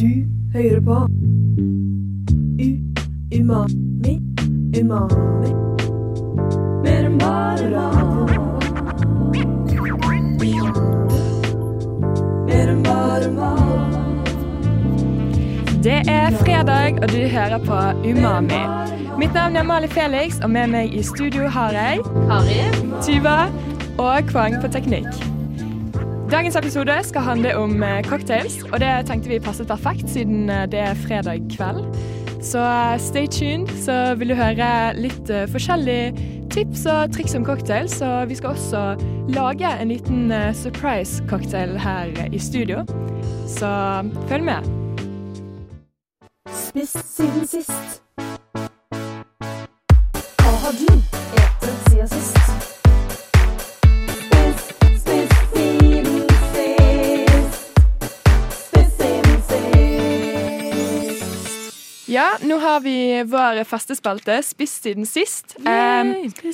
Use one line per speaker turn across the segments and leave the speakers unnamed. Du hører på U Umami Umami Mer enn bare mat Mer enn bare mat
Det er fredag, og du hører på Umami. Mitt navn er Mali Felix, og med meg i studio har jeg Tuva og Kvang på teknikk. Dagens episode skal handle om eh, cocktails, og det tenkte vi passet perfekt siden eh, det er fredag kveld. Så eh, stay tuned, så vil du høre litt eh, forskjellige tips og triks om cocktails. Og vi skal også lage en liten eh, surprise cocktail her eh, i studio, så følg med.
Spist siden sist Hva har du etet siden sist? Spist, spist siden sist Spist siden sist
Ja, nå har vi vår faste spalte, Spist siden sist. Um,
Ehm,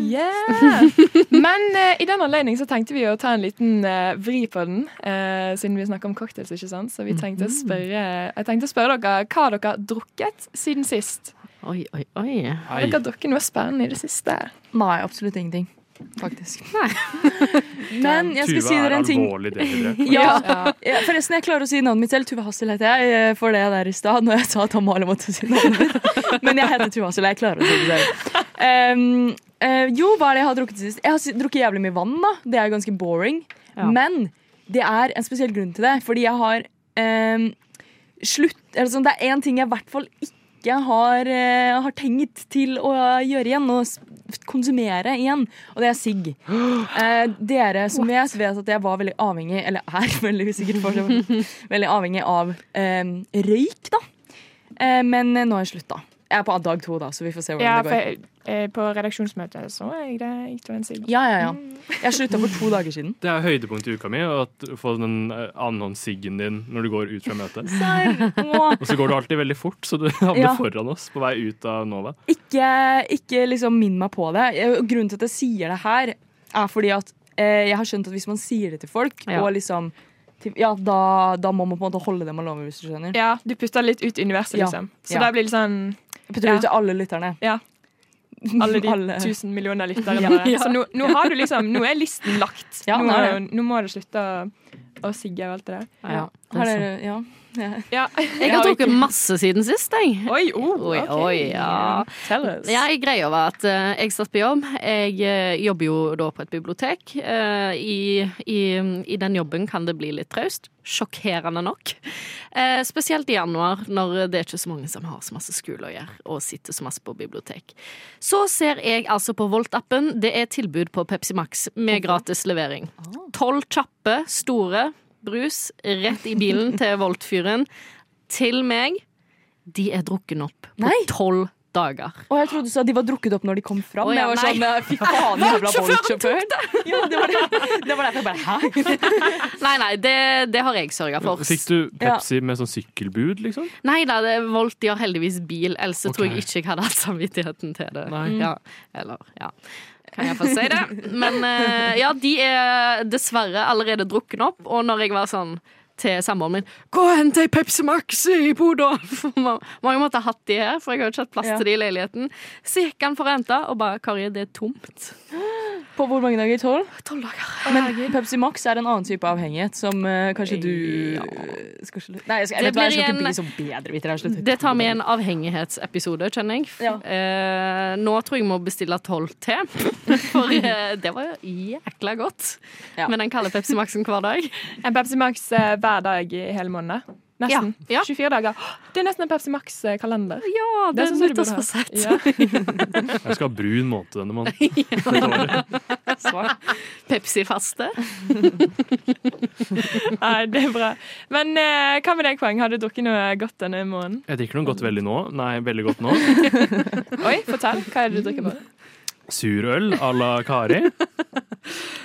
yeah. Men eh, i den anledning så tenkte vi å ta en liten eh, vri på den, eh, siden vi snakker om cocktails, ikke sant? Så
Mhm.
vi tenkte å spørre, jeg tenkte å spørre dere hva har dere har drukket siden sist.
Oi, oi, oi.
Har dere drukket noe spennende i det siste?
Nei, absolutt ingenting. Faktisk. Men jeg skal si dere en ting.
Tuva er alvorlig dehydrert.
Ja, ja, forresten, jeg klarer å si navnet mitt selv. Tuva Hassel heter jeg. eh, For det der i stad, når jeg sa at Amalie måtte si navnet mitt. Men jeg heter Tuva Hassel. Jeg klarer å si det selv. Ehm, eh, jo, hva er det jeg har drukket sist? Jeg har si- drukket jævlig mye vann, da. Det er jo ganske boring.
Ja.
Men det er en spesiell grunn til det. Fordi jeg har ehm, slutt... Eller sånn, det er én ting jeg i hvert fall ikke har, eh, har tenkt til å gjøre igjen. Og s- konsumere igjen. Og det er sigg. Eh, dere som vet, vet at jeg var veldig avhengig, eller er veldig sikkert fortsatt, veldig avhengig av eh, røyk, da. Eh, men eh, nå har jeg slutta. Jeg er på dag to, da, så vi får se hvordan
Ja,
det
for
går.
jeg, eh, på redaksjonsmøtet så var jeg der. Jeg tok en sigg.
Ja, ja, ja.
Mm.
Jeg slutta for to dager siden.
Det er høydepunktet i uka mi å få den eh, annonsiggen din når du går ut fra møtet.
Åh.
Og så går du alltid veldig fort, så du havner
Ja.
foran oss på vei ut av Nova.
Ikke, ikke liksom minn meg på det. Eh, Grunnen til at jeg sier det her, er fordi at eh, jeg har skjønt at hvis man sier det til folk,
Ja.
og liksom til, Ja, da, da må man på en måte holde det man lover, hvis du skjønner.
Ja, du putter litt ut i universet,
Ja.
liksom. Så
Ja.
da blir det sånn
Jeg putter det ut til alle lytterne.
Ja. alle de
Alle.
tusen millioner lytterne våre. Så nå, nå har du liksom Nå er listen lagt.
Ja,
nå,
nå er
nå må du slutte å, å sigge og alt det der.
Ja, det
Har
er
dere, ja.
Ja.
Jeg har drukket masse siden sist, jeg.
Oi, oh,
Oi,
ok.
oi, ja.
Tell us.
Jeg greier over at eh, jeg satt på jobb. Jeg eh, jobber jo da på et bibliotek. Eh, i, i, I den jobben kan det bli litt traust. Sjokkerende nok. Eh, spesielt i januar, når det er ikke så mange som har så masse skole å gjøre og sitter så masse på bibliotek. Så ser jeg altså på Volt-appen. Det er tilbud på Pepsi Max med gratis levering. Tolv kjappe, store brus rett i bilen til Volt-fyren. Til meg. De er drukken opp på
Nei.
tolv dager.
Og jeg trodde du sa de var drukket opp når de kom fram.
Å, ja,
jeg var
nei.
sånn, eh, fy faen, jævla voldsjåfør. Ja, det var, det. det var derfor jeg bare, hæ?
Nei, nei, det, det har jeg sørga for.
Fikk du Pepsi med sånn sykkelbud, liksom?
Nei da, det, Volt de har heldigvis bil, ellers så tror
Ok.
jeg ikke jeg hadde hatt samvittigheten til det.
Nei.
Ja, eller, ja. Kan jeg få si det? Men eh, ja, de er dessverre allerede drukken opp, og når jeg var sånn til samboeren min Gå og hent ei Pepsi Max i Bodø! For Man man har jo måttet ha hatt de her, for jeg har jo ikke hatt plass
Ja.
til de i leiligheten. Så gikk han for å hente, og bare Kari, det er tomt.
På hvor mange dager? Tolv?
Tolv dager.
Men Pepsi Max er en annen type avhengighet som eh, kanskje du
Ja.
eh, skal slutte Nei, jeg, skal, jeg vet hva, jeg
Det blir
skal ikke
en-
bli så bedreviter. jeg har sluttet.
Det tar med en avhengighetsepisode, kjenner jeg.
Ja.
Eh, nå tror jeg jeg må bestille tolv til. For eh, det var jækla godt
Ja.
med den kalde Pepsi Maxen hver dag.
En Pepsi Max eh, hver dag i hele måneden. Nesten.
Ja, ja.
24 dager. Åh, Det er nesten en Pepsi eh, Max-kalender.
Ja, det,
sånn
er
som du burde ha.
nyttårsforsett.
Ja.
Jeg skal ha brun måned denne måneden. Dette året.
Pepsi-faste.
Nei, det er bra. Men eh, hva med deg, Kvang? Har du drukket noe godt denne måneden?
Jeg drikker noe godt veldig nå. Nei, veldig godt nå.
Oi, fortell. Hva er det du drikker på?
Surøl à la Kari.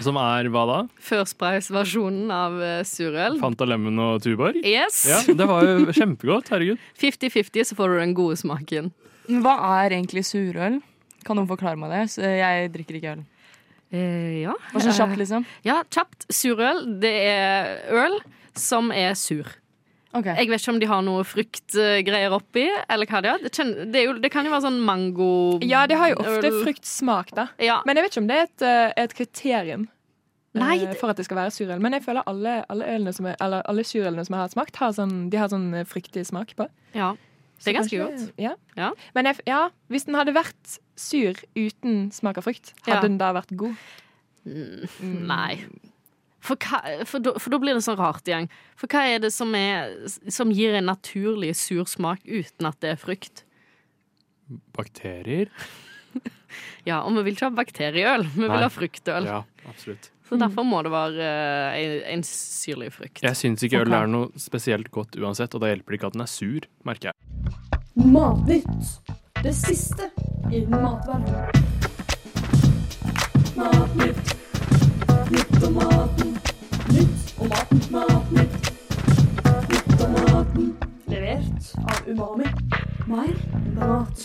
Som er hva da?
Førsprays-versjonen av eh, surøl.
Fanta Lemon og Tuborg?
Yes!
Ja, det var jo kjempegodt. Herregud.
50-50, så får du den gode smaken.
Men Hva er egentlig surøl? Kan noen forklare meg det? Så jeg drikker ikke øl.
Eh, ja. Eh,
Hva sånn kjapt, liksom?
ja, kjapt. Surøl, det er øl som er sur.
Ok.
Jeg vet ikke om de har noe fruktgreier oppi, eller hva de har. Det, kjen- det, er jo, det kan jo være sånn mango...
Ja, det har jo ofte
Øl.
fruktsmak, da.
Ja.
Men jeg vet ikke om det er et, eh, et kriterium eh,
Nei, det-
for at det skal være surøl. Men jeg føler alle, alle, ølene som er, eller alle surølene som jeg har smakt, har sånn, de har sånn eh, fruktig smak på.
ja. Det
Så
er ganske
kanskje-
godt.
Ja.
Ja.
Men jeg, f- ja, hvis den hadde vært sur uten smak av frukt, hadde
Ja.
den da vært god?
Mm. Nei. For, hva, for, da, for da blir det så rart igjen. For hva er det som, er, som gir en naturlig sur smak uten at det er frukt?
Bakterier?
Ja, og vi vil ikke ha bakterieøl, vi vil
Nei.
ha fruktøl.
Ja, absolutt.
Så derfor må det være eh, en, en syrlig frukt.
Jeg syns ikke
Ok.
øl er noe spesielt godt uansett, og da hjelper det ikke at den er sur, merker jeg.
Matnytt. Det siste innen matverden. Matnytt. Nytt om maten. Nytt om maten. Matnytt. Nytt om maten. Levert av Umami. Mer enn bare mat.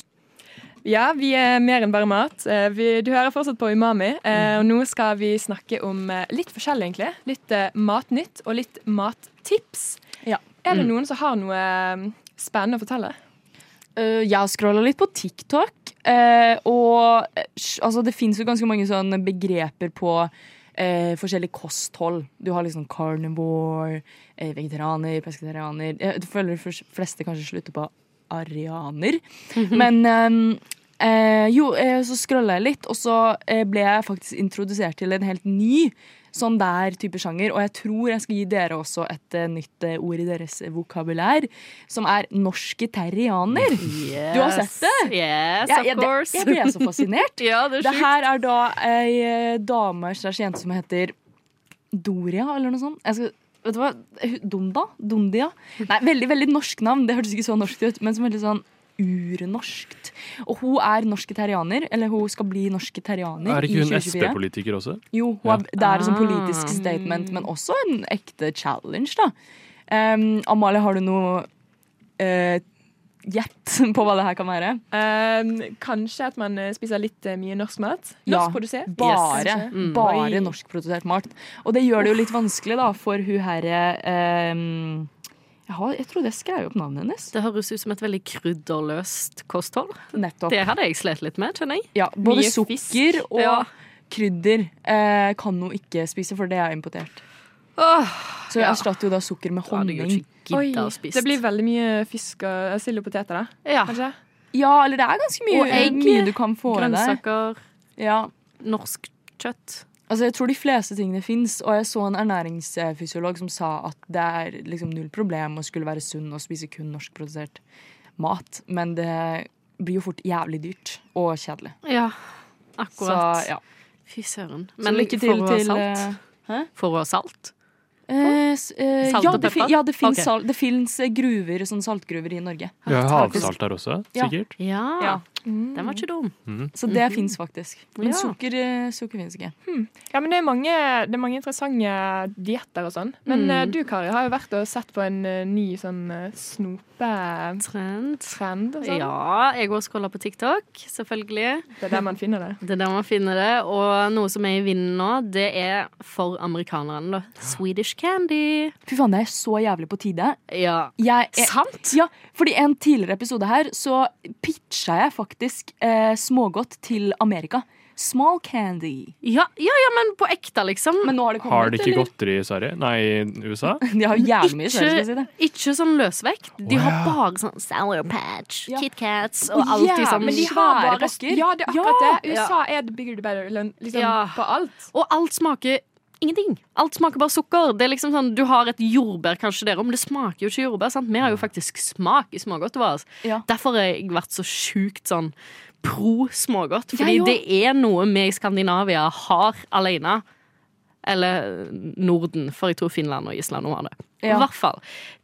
Ja, vi er mer enn bare mat. Eh, Vi, du hører fortsatt på Umami,
Mm.
eh, og nå skal vi snakke om eh, litt forskjellig, egentlig. Litt eh, matnytt og litt mattips.
Ja.
Er
Mm.
det noen som har noe eh, spennende å fortelle?
Eh, jeg har scrolla litt på TikTok, eh, og eh, sj- altså, det fins jo ganske mange sånne begreper på eh, forskjellig kosthold. Du har liksom carnivore, eh, vegetarianer, pesketarianer Jeg føler de fors- fleste kanskje slutter på arianer. Men ehm, eh, jo, eh, så scrolla jeg litt, og så eh, ble jeg faktisk introdusert til en helt ny sånn der type sjanger. Og jeg tror jeg skal gi dere også et eh, nytt eh, ord i deres vokabulær, som er norske terrianer.
Yes.
Du har sett det?
Yes,
Ja,
of
ja, det-
course.
Jeg ble så fascinert.
ja, det er
Det
sjukt.
her er da ei eh, dame slash jente som heter Doria, eller noe sånt. Jeg skal, vet du hva? Hun- Donda? Dondia? Nei, veldig veldig norsk navn. Det hørtes ikke så norskt ut, men som veldig sånn urnorskt. Og hun er norske terrianer, eller hun skal bli norske terrianer
Er
i
ikke hun
2024.
SP-politiker også?
Jo, hun er, det er et sånt
Ah.
politisk statement, men også en ekte challenge, da. Em, Amalie, har du noe eh, gjett på hva det her kan være?
Eh, kanskje at man eh, spiser litt eh, mye norsk mat.
Ja.
Norsk produsert.
Bare,
Yes.
Mm.
Oi.
bare norskprodusert mat. Og det gjør det jo litt vanskelig da, for hun herre eh, jeg, har, jeg trodde jeg skrev opp navnet hennes.
Det høres ut som et veldig krydderløst kosthold.
Nettopp.
Det hadde jeg slet litt med, kjenner jeg.
Ja, både
Mye
sukker
fisk.
og
Ja.
krydder eh, kan hun ikke spise, for det er importert.
Åh,
Så hun
Ja.
erstatter jo da sukker med
da hadde jeg jo
honning.
ikke gidda å spise. Ah,
det blir veldig mye fisk og eh, sild og poteter, da.
ja.
Kanskje?
Ja, eller det er ganske
Og
mye,
egg.
mye du kan få i deg.
Grønnsaker,
Ja.
norsk kjøtt.
Altså, jeg tror de fleste tingene fins, og jeg så en ernæringsfysiolog som sa at det er liksom null problem å skulle være sunn og spise kun norskprodusert mat, men det blir jo fort jævlig dyrt og kjedelig.
Ja,
Så
akkurat.
ja.
Fy søren.
så lykke til
får hun
til
salt?
eh,
Får hun salt?
eh, s- eh,
Salt
ja,
og
det fin-
pepper?
ja, det fins
Ok.
salt. Det fins eh, gruver, sånn saltgruver i Norge.
Vi har
faktisk.
havsalt der også,
Ja.
sikkert.
Ja.
Ja.
Mm.
Den var ikke dum.
Så det fins faktisk. Men
Mm-hmm. Ja.
sukker, eh, sukker fins ikke.
Ja, men det er mange, det er mange interessante dietter og sånn. Men
Mm.
eh, du, Kari, har jo vært og sett på en eh, ny sånn eh, snopetrend
Trend.
og sånn.
Ja, jeg går og scroller på TikTok, selvfølgelig.
Det er der man finner det.
Det er der man finner det. Og noe som er i vinden nå, det er for amerikanerne, da. Swedish candy.
Fy faen, det er så jævlig på tide.
Ja.
Jeg, jeg,
Sant?
Ja, fordi en tidligere episode her så pitcha jeg faktisk eh, smågodt til Amerika. Small candy.
Ja, ja, ja, men på ekte, liksom.
Men nå har det kommet,
Har de ikke
eller?
godteri i Sverige? Nei, i USA?
De har jo jævlig mye
Ikke,
selv, skal jeg si det.
ikke sånn løsvekt. De
Å,
har
ja.
bare sånn Sour Patch,
Ja.
Kit Kats
Å,
og alltid
jævlig.
sånn.
Men de har- Svære pakker.
Ja, det er akkurat det.
Ja.
USA er the bigger the better lønn, liksom,
Ja.
på alt.
Og alt smaker ingenting. Alt smaker bare sukker. Det er liksom sånn, Du har et jordbær kanskje der, men det smaker jo ikke jordbær. sant? Vi har jo faktisk smak i smågodt. hva, altså.
Ja.
Derfor har jeg vært så sjukt sånn pro smågodt. Fordi
Jeg òg.
det er noe vi i Skandinavia har alene. Eller Norden, for jeg tror Finland og Island nå har det.
Ja.
I hvert fall.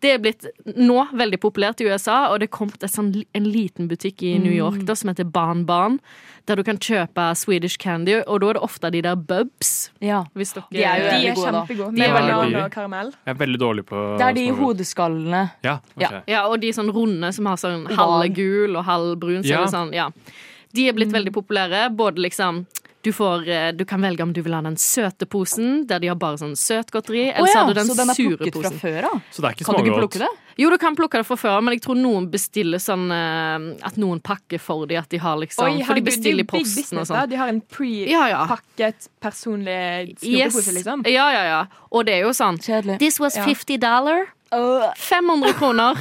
Det er blitt nå veldig populært i USA, og det er kommet et sånn, en liten butikk i
Mm.
New York da, som heter Ban Ban, der du kan kjøpe Swedish candy, og da er det ofte de der bubs.
Ja.
Hvis dere
De er jo
De
veldig
er
gode, da.
kjempegode.
De er
Med
veldig
banan
gode.
og karamell.
Jeg er veldig dårlig på
Det er de
smågodt.
hodeskallene.
Ja, ok.
Ja.
Ja, og de sånn runde som har sånn halv gul og halv brun. Så
Ja.
er det sånn, ja. De er blitt veldig populære. Både liksom du Du, får, eh, du kan velge om du vil ha den søte posen, der de har bare sånn søtgodteri,
Å
eller så
ja,
har du den,
så den er
sure
plukket fra
posen.
før av?
Så det er ikke
Kan du ikke
smågodt.
plukke det?
Jo, du kan plukke det fra før, men jeg tror noen bestiller sånn eh, At noen pakker for dem, at de har liksom For de bestiller i
det er jo big
posten og
business, da.
sånn.
De har en pre-pakket
Ja, ja.
personlig
Yes.
snopepose, liksom.
Ja, ja, ja. Og det er jo sånn
Kjedelig.
This was
Ja.
50 dollar. 500 kroner.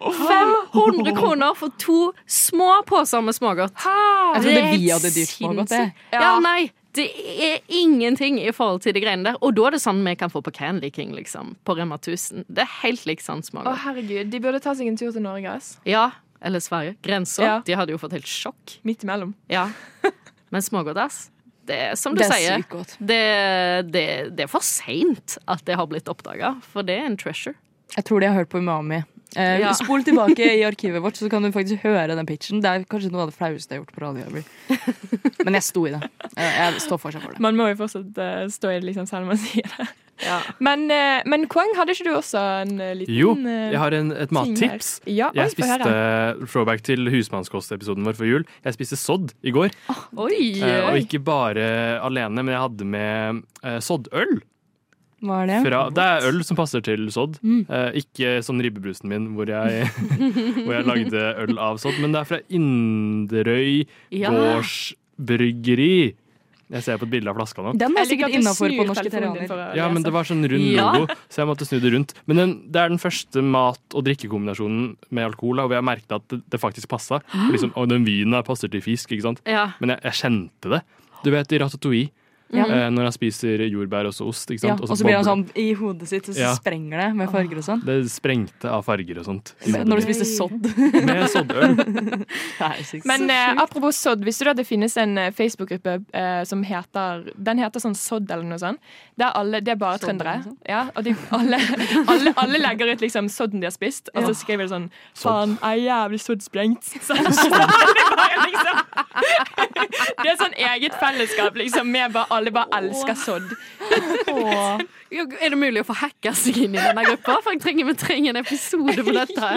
500 kroner for to små poser med smågodt.
Jeg trodde
er helt
vi hadde dyrt smågodt, jeg.
sinnssykt. Ja, nei. Det er ingenting i forhold til de greiene der. Og da er det sånn vi kan få på Candy King, liksom. På Rema 1000. Det er helt likt sånn
Å,
smågodt.
herregud. De burde ta seg en tur til Norge, ass.
Ja. Eller Sverige. Grensa.
Ja.
De hadde jo fått helt sjokk.
Midt imellom.
Ja. Men smågodt, ass. Det er som du
Det er
sier.
sykt godt.
Det, det, det er for seint at det har blitt oppdaga, for det er en treasure.
Jeg tror de har hørt på Umami. Eh,
Ja.
Spol tilbake i arkivet vårt, så kan du faktisk høre den pitchen. Det er kanskje noe av det flaueste jeg har gjort på radio. Øyeblikk. Men jeg sto i det. Eh, Jeg står fortsatt for det.
Man må jo fortsatt eh, stå i det, liksom, selv om man sier det.
Ja.
Men, eh, men Kwang, hadde ikke du også en eh, liten
Jo,
eh,
jeg har en, et
ting her?
mattips.
Ja, oi,
Jeg
få høre.
spiste throwback til husmannskostepisoden vår for jul. Jeg spiste sodd i går.
Oi!
eh, Og ikke bare alene, men jeg hadde med eh, soddøl.
Hva er det?
Fra, det er øl som passer til sodd.
Mm.
Eh, Ikke som ribbebrusen min, hvor jeg, hvor jeg lagde øl av sodd. Men det er fra Inderøy
Ja.
gårdsbryggeri. Jeg ser på et bilde av flaska nå.
Jeg
Den er
liker at
sikkert
du
innafor
snur
på norske
telefonen din
terraner.
for å
Ja, men
lese.
det var sånn rund
Ja.
logo, så jeg måtte snu det rundt. Men den, det er den første mat- og drikkekombinasjonen med alkohol, da, hvor jeg merket at det, det faktisk passa. For Liksom, å, den vinen her passer til fisk, ikke sant.
Ja.
Men jeg, jeg kjente det. Du vet i ratatouille, eh, når han spiser jordbær og så ost, ikke
Ja,
sant.
og så blir han
bobler-
sånn i hodet sitt, og så
Ja.
sprenger det med farger og sånn.
Det sprengte av farger og sånt.
Når du spiser sodd.
Med soddøl.
Det er sykt.
Men eh, apropos sodd, visste du at det finnes en eh, Facebook-gruppe eh, som heter Den heter sånn Sodd eller noe sånt. Der alle, det er bare
Sodd eller
trøndere.
noe sånt?
Ja, og de, alle, alle, alle legger ut liksom sodden de har spist, og så skriver de sånn Faen, jeg er jævlig soddsprengt. Så, så, bare, liksom. Det er sånn eget fellesskap, liksom. Med bare, alle bare elsker sodd.
Jo, Er det mulig å få hacka seg inn i denne gruppa? For jeg trenger, vi trenger en episode på dette.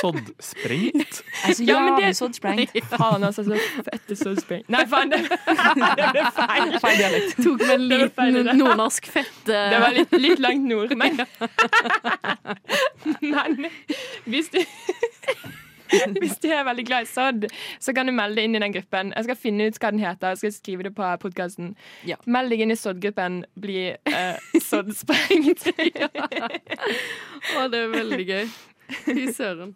Soddsprengt?
Jeg Altså, er sånn så
Ja, men det-
jævlig sodd sprengt.
Faen, altså. Så fette soddsprengt. Nei, faen. Det, det ble feil.
Feil dialekt.
Tok med en
Det var feil,
liten
det.
nordnorsk fett. eh,
Det var litt, litt langt nord, men Men hvis du hvis du er veldig glad i sodd, så kan du melde deg inn i den gruppen. Jeg skal finne ut hva den heter. Jeg skal skrive det på podkasten.
Ja.
Meld deg inn i soddgruppen. Bli eh, soddsprengt.
Å, det er veldig gøy. Fy søren.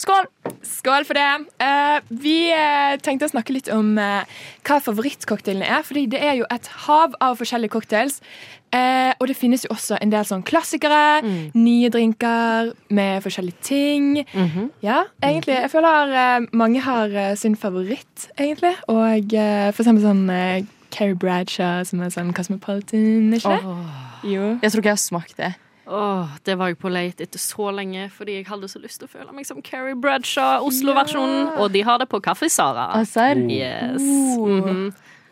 Skål! Skål for det. Eh, vi eh, tenkte å snakke litt om eh, hva favorittcocktailene er. fordi det er jo et hav av forskjellige cocktails. Eh, og det finnes jo også en del sånn klassikere, nye drinker med forskjellige ting. Ja, egentlig. Jeg føler eh, mange har eh, sin favoritt, egentlig. Og eh, for eksempel sånn eh, Carrie Bradshaw, som er sånn cosmopolitan, ikke det? Jo.
Jeg tror ikke jeg har smakt det.
Åh, det var jeg på leit etter så lenge fordi jeg hadde så lyst til å føle meg som Carrie Bradshaw, Oslo-versjonen. Og de har det på Kaffe Sara.
Serr?
Yes.
Oh.
Mhm.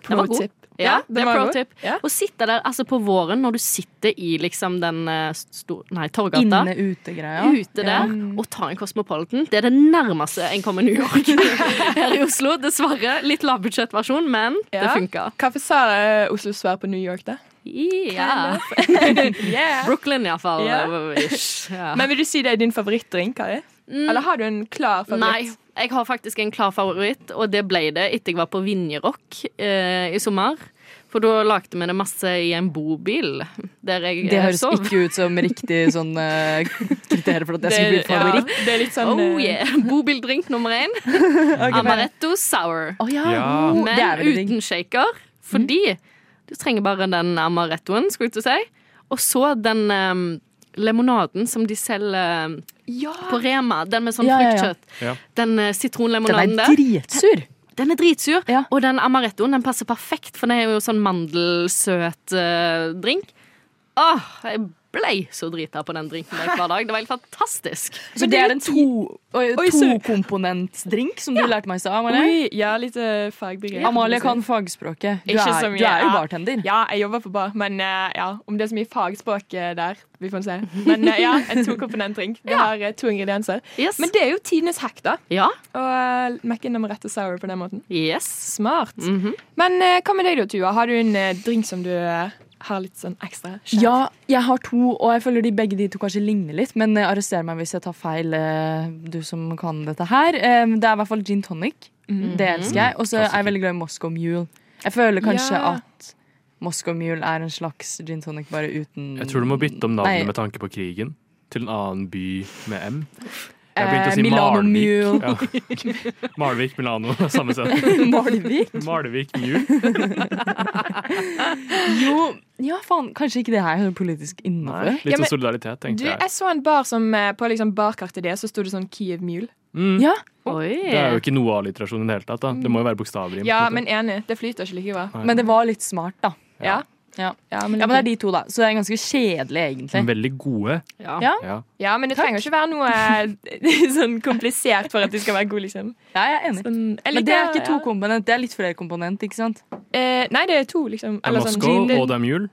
Den
Altså, Pro
var god.
tip.
Ja,
den
det er
var
pro
god.
tip.
Ja.
Å sitte der altså på våren når du sitter i liksom den eh, stor... Nei, Torgata.
Inne-ute-greia.
ute der og ta en Cosmopolitan. Det er det nærmeste en kommer New York her i Oslo. Dessverre. Litt lavbudsjettversjon, men det
Ja.
funka.
Kaffe Sara er eh, Oslos svar på New York, da.
Yeah.
Yeah.
Brooklyn, iallfall.
Ja.
Ja. Mm,
Men vil du si det er din favorittdrink, Kari?
Mm.
Eller har du en klar
Nei.
favoritt?
Jeg har faktisk en klar favoritt, og det ble det etter jeg var på Vinjerock eh, i sommer. For da lagde vi det masse i en bobil der jeg
Det
eh,
høres
sov.
ikke ut som riktig sånn eh, kriterier for at jeg skulle bli favoritt.
Ja, det er litt sånn
Oh
eh,
yeah. Bobildrink nummer én. Amaretto sour.
Å ja.
Ja.
oh, det er
Men
veldig digg.
uten shaker, fordi du trenger bare den amarettoen, skulle jeg til å si. Og så den em, lemonaden som de selger em,
Ja.
på Rema, den med sånn
Ja, ja, ja.
fruktkjøtt.
Ja.
Den eh, sitronlemonaden
Den er
der.
dritsur.
Den er dritsur,
Ja.
og den amarettoen den passer perfekt, for den er jo sånn mandelsøt eh, drink. Åh, jeg ble så drita på den drinken der hver dag. Det var helt fantastisk.
Så det er en to- oi,
Oi, sorry.
tokomponentsdrink, som du lærte meg i stad, Amalie.
Oi, ja, litt eh, fagbegrep.
Amalie kan fagspråket. Du
Ikke
er,
så mye,
du er jo
ja.
bartender.
Ja, jeg jobber på bar, men eh, ja, om det er så mye fagspråk eh, der, vi får se. Men eh, ja, en tokomponentdrink. Det har eh, to ingredienser.
Yes.
Men det er jo tidenes hack, da.
Ja.
Å uh, mekke inn med rette sour på den måten.
Yes.
Smart.
Mm.
Mhm.
Men eh, hva med deg da, Tua? Har du en eh, drink som du eh, har litt sånn ekstra? kjær?
Ja, jeg har to, og jeg føler de begge de to kanskje ligner litt. Men eh, arrester meg hvis jeg tar feil, eh, du som kan dette her. Eh, Det er i hvert fall gin tonic.
Mm.
Det elsker jeg. Og så er jeg veldig glad i Moscow Mule. Jeg føler kanskje
Ja.
at Moscow Mule er en slags gin tonic, bare uten
Jeg tror du må bytte om
Nei.
navnet med tanke på krigen til en annen by med M. Jeg begynte å si
Eh, Milano Mule.
Malvik. Ja. Malvik, Milano, samme sted.
Malvik?
Malvik Mule.
Jo, ja faen. Kanskje ikke det her er politisk
Nei,
innafor.
Litt
Ja, men-
sånn solidaritet,
Du,
tenkte jeg.
jeg så en bar som eh, på liksom barkartet det, så sto det sånn Kiev Mule.
Mm.
Ja,
Det er jo
Oi.
ikke noe alliterasjon i det hele tatt. Da. Det må jo være bokstavrim. på en
Ja,
måte.
men enig. Det flyter ikke like bra.
Nei.
men det var litt smart, da.
Ja.
Ja.
men,
Ja, Men det er de to, da. Så det er ganske kjedelig,
Men
egentlig.
veldig gode.
Ja.
Ja.
Ja.
ja, men det trenger ikke være noe eh, sånn komplisert for at de skal være gode, liksom.
Ja, jeg er enig.
Sånn, jeg
Men det er
liker-
ikke to
ja.
komponent, det er litt flere komponent, ikke sant?
Eh, nei, det er to, liksom.
Det er Moskva
gin-
og det er Mule.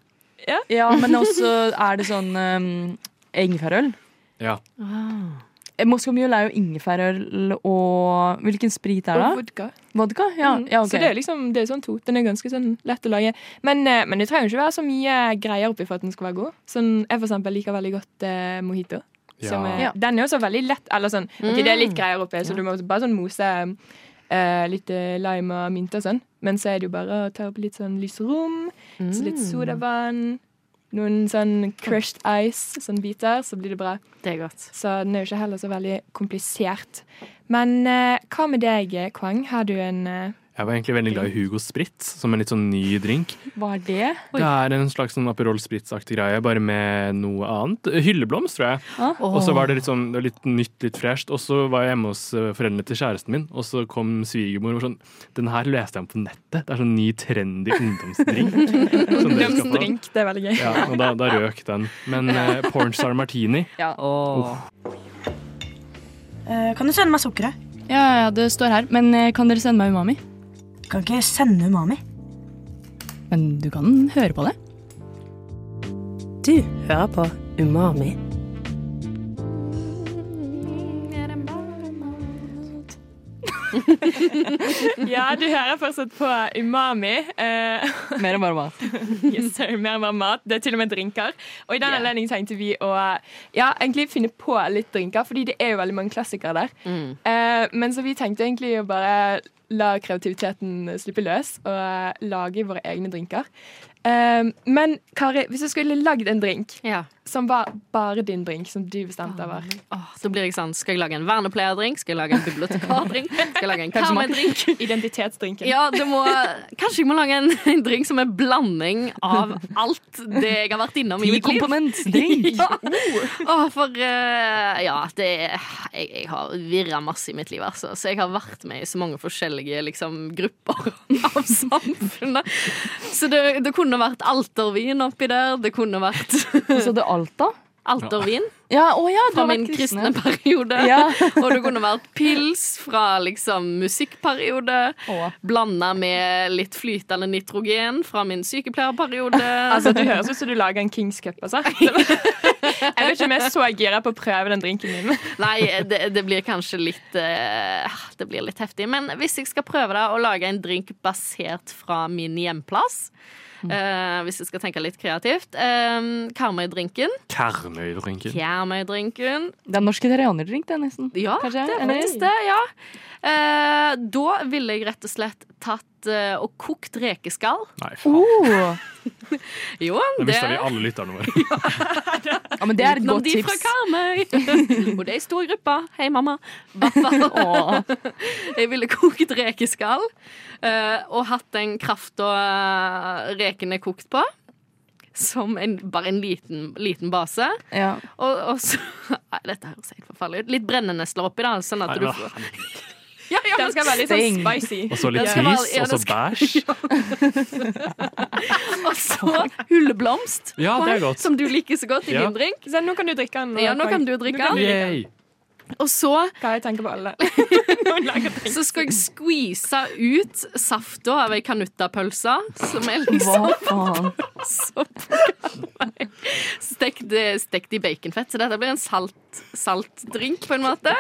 Ja, men også er det sånn um, ingefærøl.
Ja.
Ah,
Eh, Moscow Mule er jo ingefærøl og Hvilken sprit er det?
og vodka.
Vodka? Ja,
Mm.
ja
Så det er
ok.
liksom det er sånn to. Den er ganske sånn lett å lage. Men, eh, men det trenger ikke være så mye greier oppi for at den skal være god. Sånn, jeg for eksempel liker veldig godt eh, mojito. Som er,
Ja.
Den er også veldig lett. Eller sånn, ok, det er
Mm.
litt greier oppi, så du må bare sånn mose eh, litt eh, lime og mynte og sånn. Men så er det jo bare å ta opp litt sånn lys rom, så litt
Mm.
sodavann, noen sånn crushed ice, sånn biter, så blir det bra.
Det er godt.
Så den er jo ikke heller så veldig komplisert. Men eh, hva med deg, Kwang? Har du en eh,
Jeg var egentlig veldig glad i Hugo Spritz, som en litt sånn ny drink.
Hva er det?
Det er en slags sånn Aperol Spritz-aktig greie, bare med noe annet. Hylleblomst, tror jeg. Og så var det litt sånn det var litt nytt, litt fresht. Og så var jeg hjemme hos eh, foreldrene til kjæresten min, og så kom svigermor og var sånn Den her leste jeg om på nettet. Det er sånn ny, trendy ungdomsdrink. Sånn som dere skal få.
ungdomsdrink? Det er veldig gøy.
liksom- Ja, og da, da røk den. Men eh, Pornstar Martini
Eh, Kan du sende meg sukkeret?
Ja, ja, det står her. Men eh, kan dere sende meg umami?
Kan ikke sende umami.
Men du kan høre på det.
Du hører på Umami.
Ja, du hører fortsatt på Umami. eh,
Mer enn bare mat.
yes, sorry, mer og mer mat. Det er til og med drinker. Og i den anledning tenkte vi å ja, egentlig finne på litt drinker, fordi det er jo veldig mange klassikere der.
Mm.
Eh, men så vi tenkte egentlig å bare la kreativiteten slippe løs og eh, lage våre egne drinker. Eh, men Kari, hvis du skulle lagd en drink
Ja.
som var bare din drink, som du bestemte over
Åh, så blir jeg sånn Skal jeg lage en vernepleierdrink? Skal jeg lage en bibliotekardrink? Skal jeg lage en karmedrink?
Identitetsdrinken.
Ja, det må, kanskje jeg må lage en, en drink som er blanding av alt det jeg har vært innom i mitt liv.
Komponentdrink.
Ja. Åh, for eh, ja, det er, jeg, jeg har virra masse i mitt liv, altså. Så jeg har vært med i så mange forskjellige liksom, grupper av samfunnet. Så det, det kunne vært altervin oppi der. Det kunne vært
Og så det Alta.
altervin
Ja, å ja, du
fra
har
min
vært
kristne periode.
Ja.
Og det kunne vært pils fra liksom musikkperiode.
Å.
Blanda med litt flytende nitrogen fra min sykepleierperiode.
Altså, Du høres ut som du lager en Kings Cup. Altså. Jeg vet ikke om jeg er så gira på å prøve den drinken min.
Nei, det, det blir kanskje litt eh, Det blir litt heftig. Men hvis jeg skal prøve da, å lage en drink basert fra min hjemplass eh, Hvis jeg skal tenke litt kreativt uh, Karmøy-drinken. Mm.
Karmøy-drinken.
Karmøy-drinken.
Det er norsk italianerdrink, det, nesten.
Ja,
Kanskje?
det er
Eller?
faktisk det. ja Eh, Da ville jeg rett og slett tatt eh, og kokt rekeskall.
Nei, faen.
Oh.
Jo,
Det
det
mista vi alle lytterne våre.
Ja, men det er et
Utenom
godt
de fra
tips.
Karmøy. Og det er i stor gruppe. Hei, mamma. Hvert fall.
Åh.
Jeg ville kokt rekeskall eh, og hatt den krafta eh, rekene er kokt på. Som en, bare en liten, liten base.
Ja.
Og, og så Nei, dette høres helt forferdelig ut. Litt brennenesler oppi, da. Sånn at
Nei,
du
men-
får
Ja, ja,
Den skal være litt sånn spicy.
Og så litt
Ja.
tis,
Ja,
og så
det
bæsj.
Og så hulleblomst,
Ja, det er godt.
som du liker så godt i
Ja.
din drink.
Så nå kan du drikke den.
Ja, nå kan du drikke den.
Yay.
Og så
Hva jeg tenker på alle. Noen lager drink.
så skal jeg skvise ut safta av ei kanuttapølse, som er liksom
Hva faen?
så på meg. Stekt, stekt i baconfett, så dette blir en salt, salt drink på en måte.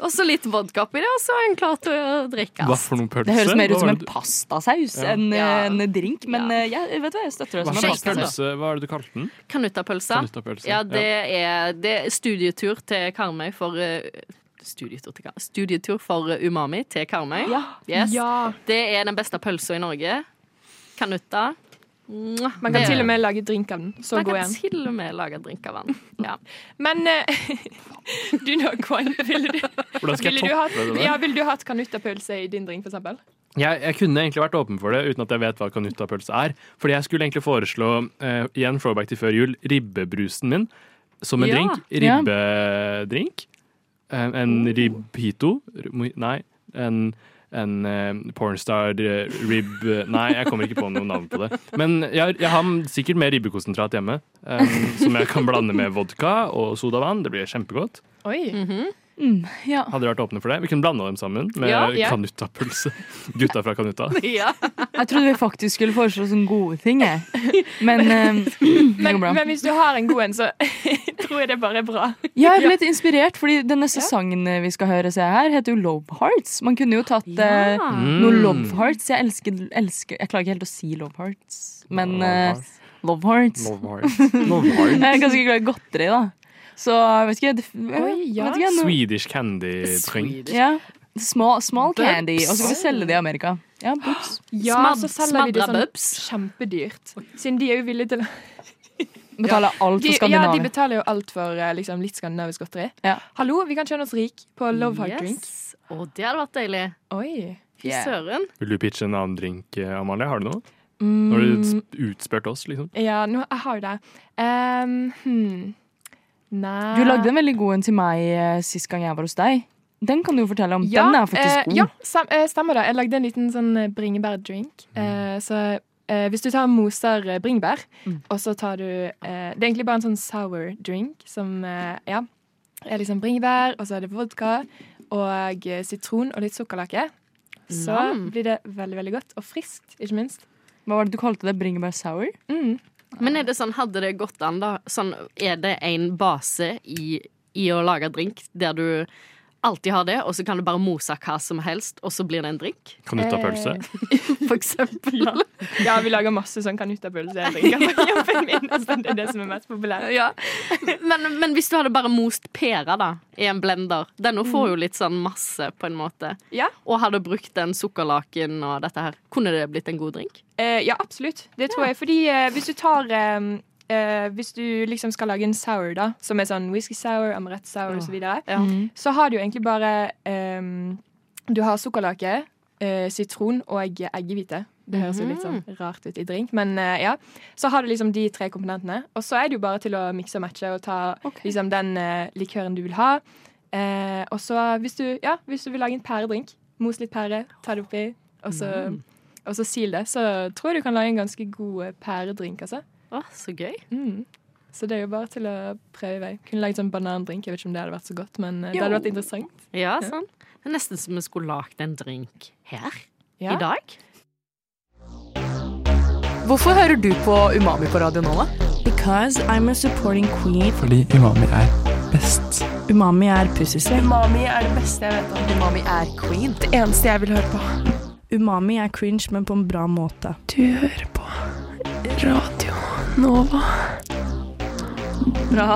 Og så litt vodka oppi det, og så er en klar til å drikke.
Hva
ass.
for noen pølse?
Det høres mer
Hva
ut som
var
en
det du-
pastasaus
Ja.
enn
Ja.
en drink, men
Ja.
eh, jeg vet hva, jeg støtter sånn.
Hva
det.
slags
som en
Shake,
pastasaus.
pølse? Hva er det du kalte den?
Kanuttapølse.
Kanuttapølse.
Ja, det er, det er studietur til Karmøy for eh, Studietur, til, Kar- studietur for eh, umami til Karmøy.
Ja.
Yes.
Ja.
Det er den beste pølsa i Norge. Kanutta. Mwah.
Man kan
Det-
til og med lage drink av den. Så
Man
god er
kan
den.
til og med lage drink av den. Ja.
Men eh, du nå, Kwan, ville du,
Hvordan skal
ville
jeg
du hatt,
toppe det? der?
ja, ville du hatt kanuttapølse i din drink, for eksempel?
Jeg, jeg kunne egentlig vært åpen for det uten at jeg vet hva kanuttapølse er. Fordi jeg skulle egentlig foreslå, eh, igjen throwback til før jul, ribbebrusen min som en
Ja.
drink.
Ja.
Ribbedrink. En, en ribbhito. Mo- Nei, en, en eh, pornstar eh, rib... Nei, jeg kommer ikke på noe navn på det. Men jeg, jeg har sikkert mer ribbekonsentrat hjemme, eh, som jeg kan blande med vodka og sodavann. Det blir kjempegodt.
Oi.
Mm.
Mm-hmm.
Ja.
Hadde dere vært åpne for det? Vi kunne blanda dem sammen med
Ja, ja.
kanuttapølse. Gutta fra Kanutta.
Ja.
Jeg trodde vi faktisk skulle foreslå sånne gode ting, jeg. Men eh, det
Men,
går bra.
Mm. men hvis du har en god en, så tror jeg det bare er bra.
Ja, jeg ble litt inspirert, fordi den neste sangen vi skal høre se her, heter jo Love Hearts. Man kunne jo tatt eh,
Ah.
noe
Mm.
Love Hearts. Jeg elsker, elsker Jeg klarer ikke helt å si Love Hearts, men eh, Love Hearts. Jeg er ganske glad i godteri, da. Så jeg vet ikke, det, jeg,
Oi, ja.
vet ikke noe,
Swedish candy-drink.
Swedish.
ja. Small, small candy, og så skal vi
Bubs.
selge det i Amerika. Ja, bups.
Ja, så
Smad-
selger vi det
smadra
sånn
bubs.
kjempedyrt. Siden de er jo villige til å
Betaler
Altså
alt
de, Ja,
for
de
Skandinavia.
betaler jo alt for eh, liksom, litt skandinavisk godteri.
Ja.
Hallo, vi kan kjønne oss rik på Love Heart Drink.
Yes. Å, det hadde vært deilig.
Oi.
Fy søren.
Vil du pitche en annen drink, eh, Amalie? Har du noe? Nå har
Mm.
du sp- utspurt oss, liksom.
Ja, nå, jeg har jo det. Ehm, hmm. Nei
Du lagde en veldig god en til meg eh, sist gang jeg var hos deg. Den kan du jo fortelle om. Den er
eh,
faktisk god.
Ja, sam, eh, stemmer det. Jeg lagde en liten sånn eh, bringebærdrink.
Mm.
Eh, så eh, hvis du tar moser eh, bringebær,
Mm.
og så tar du eh, Det er egentlig bare en sånn sour drink som eh, Ja. Er liksom bringebær, og så er det vodka og eh, sitron og litt sukkerlake. Så
Nam.
blir det veldig veldig godt. Og friskt, ikke minst.
Hva var det du kalte det? Bringebær sour?
Mm.
Men er det sånn, hadde det gått an, da? Sånn, er det en base i, i å lage drink der du alltid har det, og så kan du bare mose hva som helst, og så blir det en drink?
Kanuttapølse.
For eksempel.
Ja, vi lager masse sånn kanuttapølsedrinker på Altså, jobben min. Så det er det som er mest populært.
Ja. Men, men hvis du hadde bare most pæra da, i en blender Denne får jo litt sånn masse, på en måte.
Ja.
Og hadde brukt den sukkerlaken og dette her, kunne det blitt en god drink?
Eh, ja, absolutt. Det tror jeg. Fordi eh, hvis du tar eh, eh, Hvis du liksom skal lage en sour, da, som er sånn whisky sour, amarett sour osv., så, videre, så har du jo egentlig bare eh, Du har sukkerlake, eh, sitron og eggehvite. Det høres jo litt sånn rart ut i drink, men eh, ja. Så har du liksom de tre komponentene. Og så er det jo bare til å mikse og matche og ta liksom den eh, likøren du vil ha. Eh, og så hvis du, ja, hvis du vil lage en pæredrink, mos litt pære, ta det oppi, og så og så sil det, så tror jeg du kan lage en ganske god eh, pæredrink. altså.
Å, så gøy.
Mm. Så det er jo bare til å prøve i vei. Kunne laget sånn banandrink. Jeg vet ikke om det hadde vært så godt, men eh, det hadde vært interessant.
Ja, sånn. Det er nesten som vi skulle lagd en drink her
Ja.
i dag.
Hvorfor hører du på Umami på radio nå, da?
Because I'm a supporting queen.
Fordi umami er best.
Umami er pussysvett.
Umami er det beste jeg vet om.
Umami er queen.
Det eneste jeg vil høre på.
Umami er cringe, men på en bra måte.
Du hører på Radio Nova.
Bra.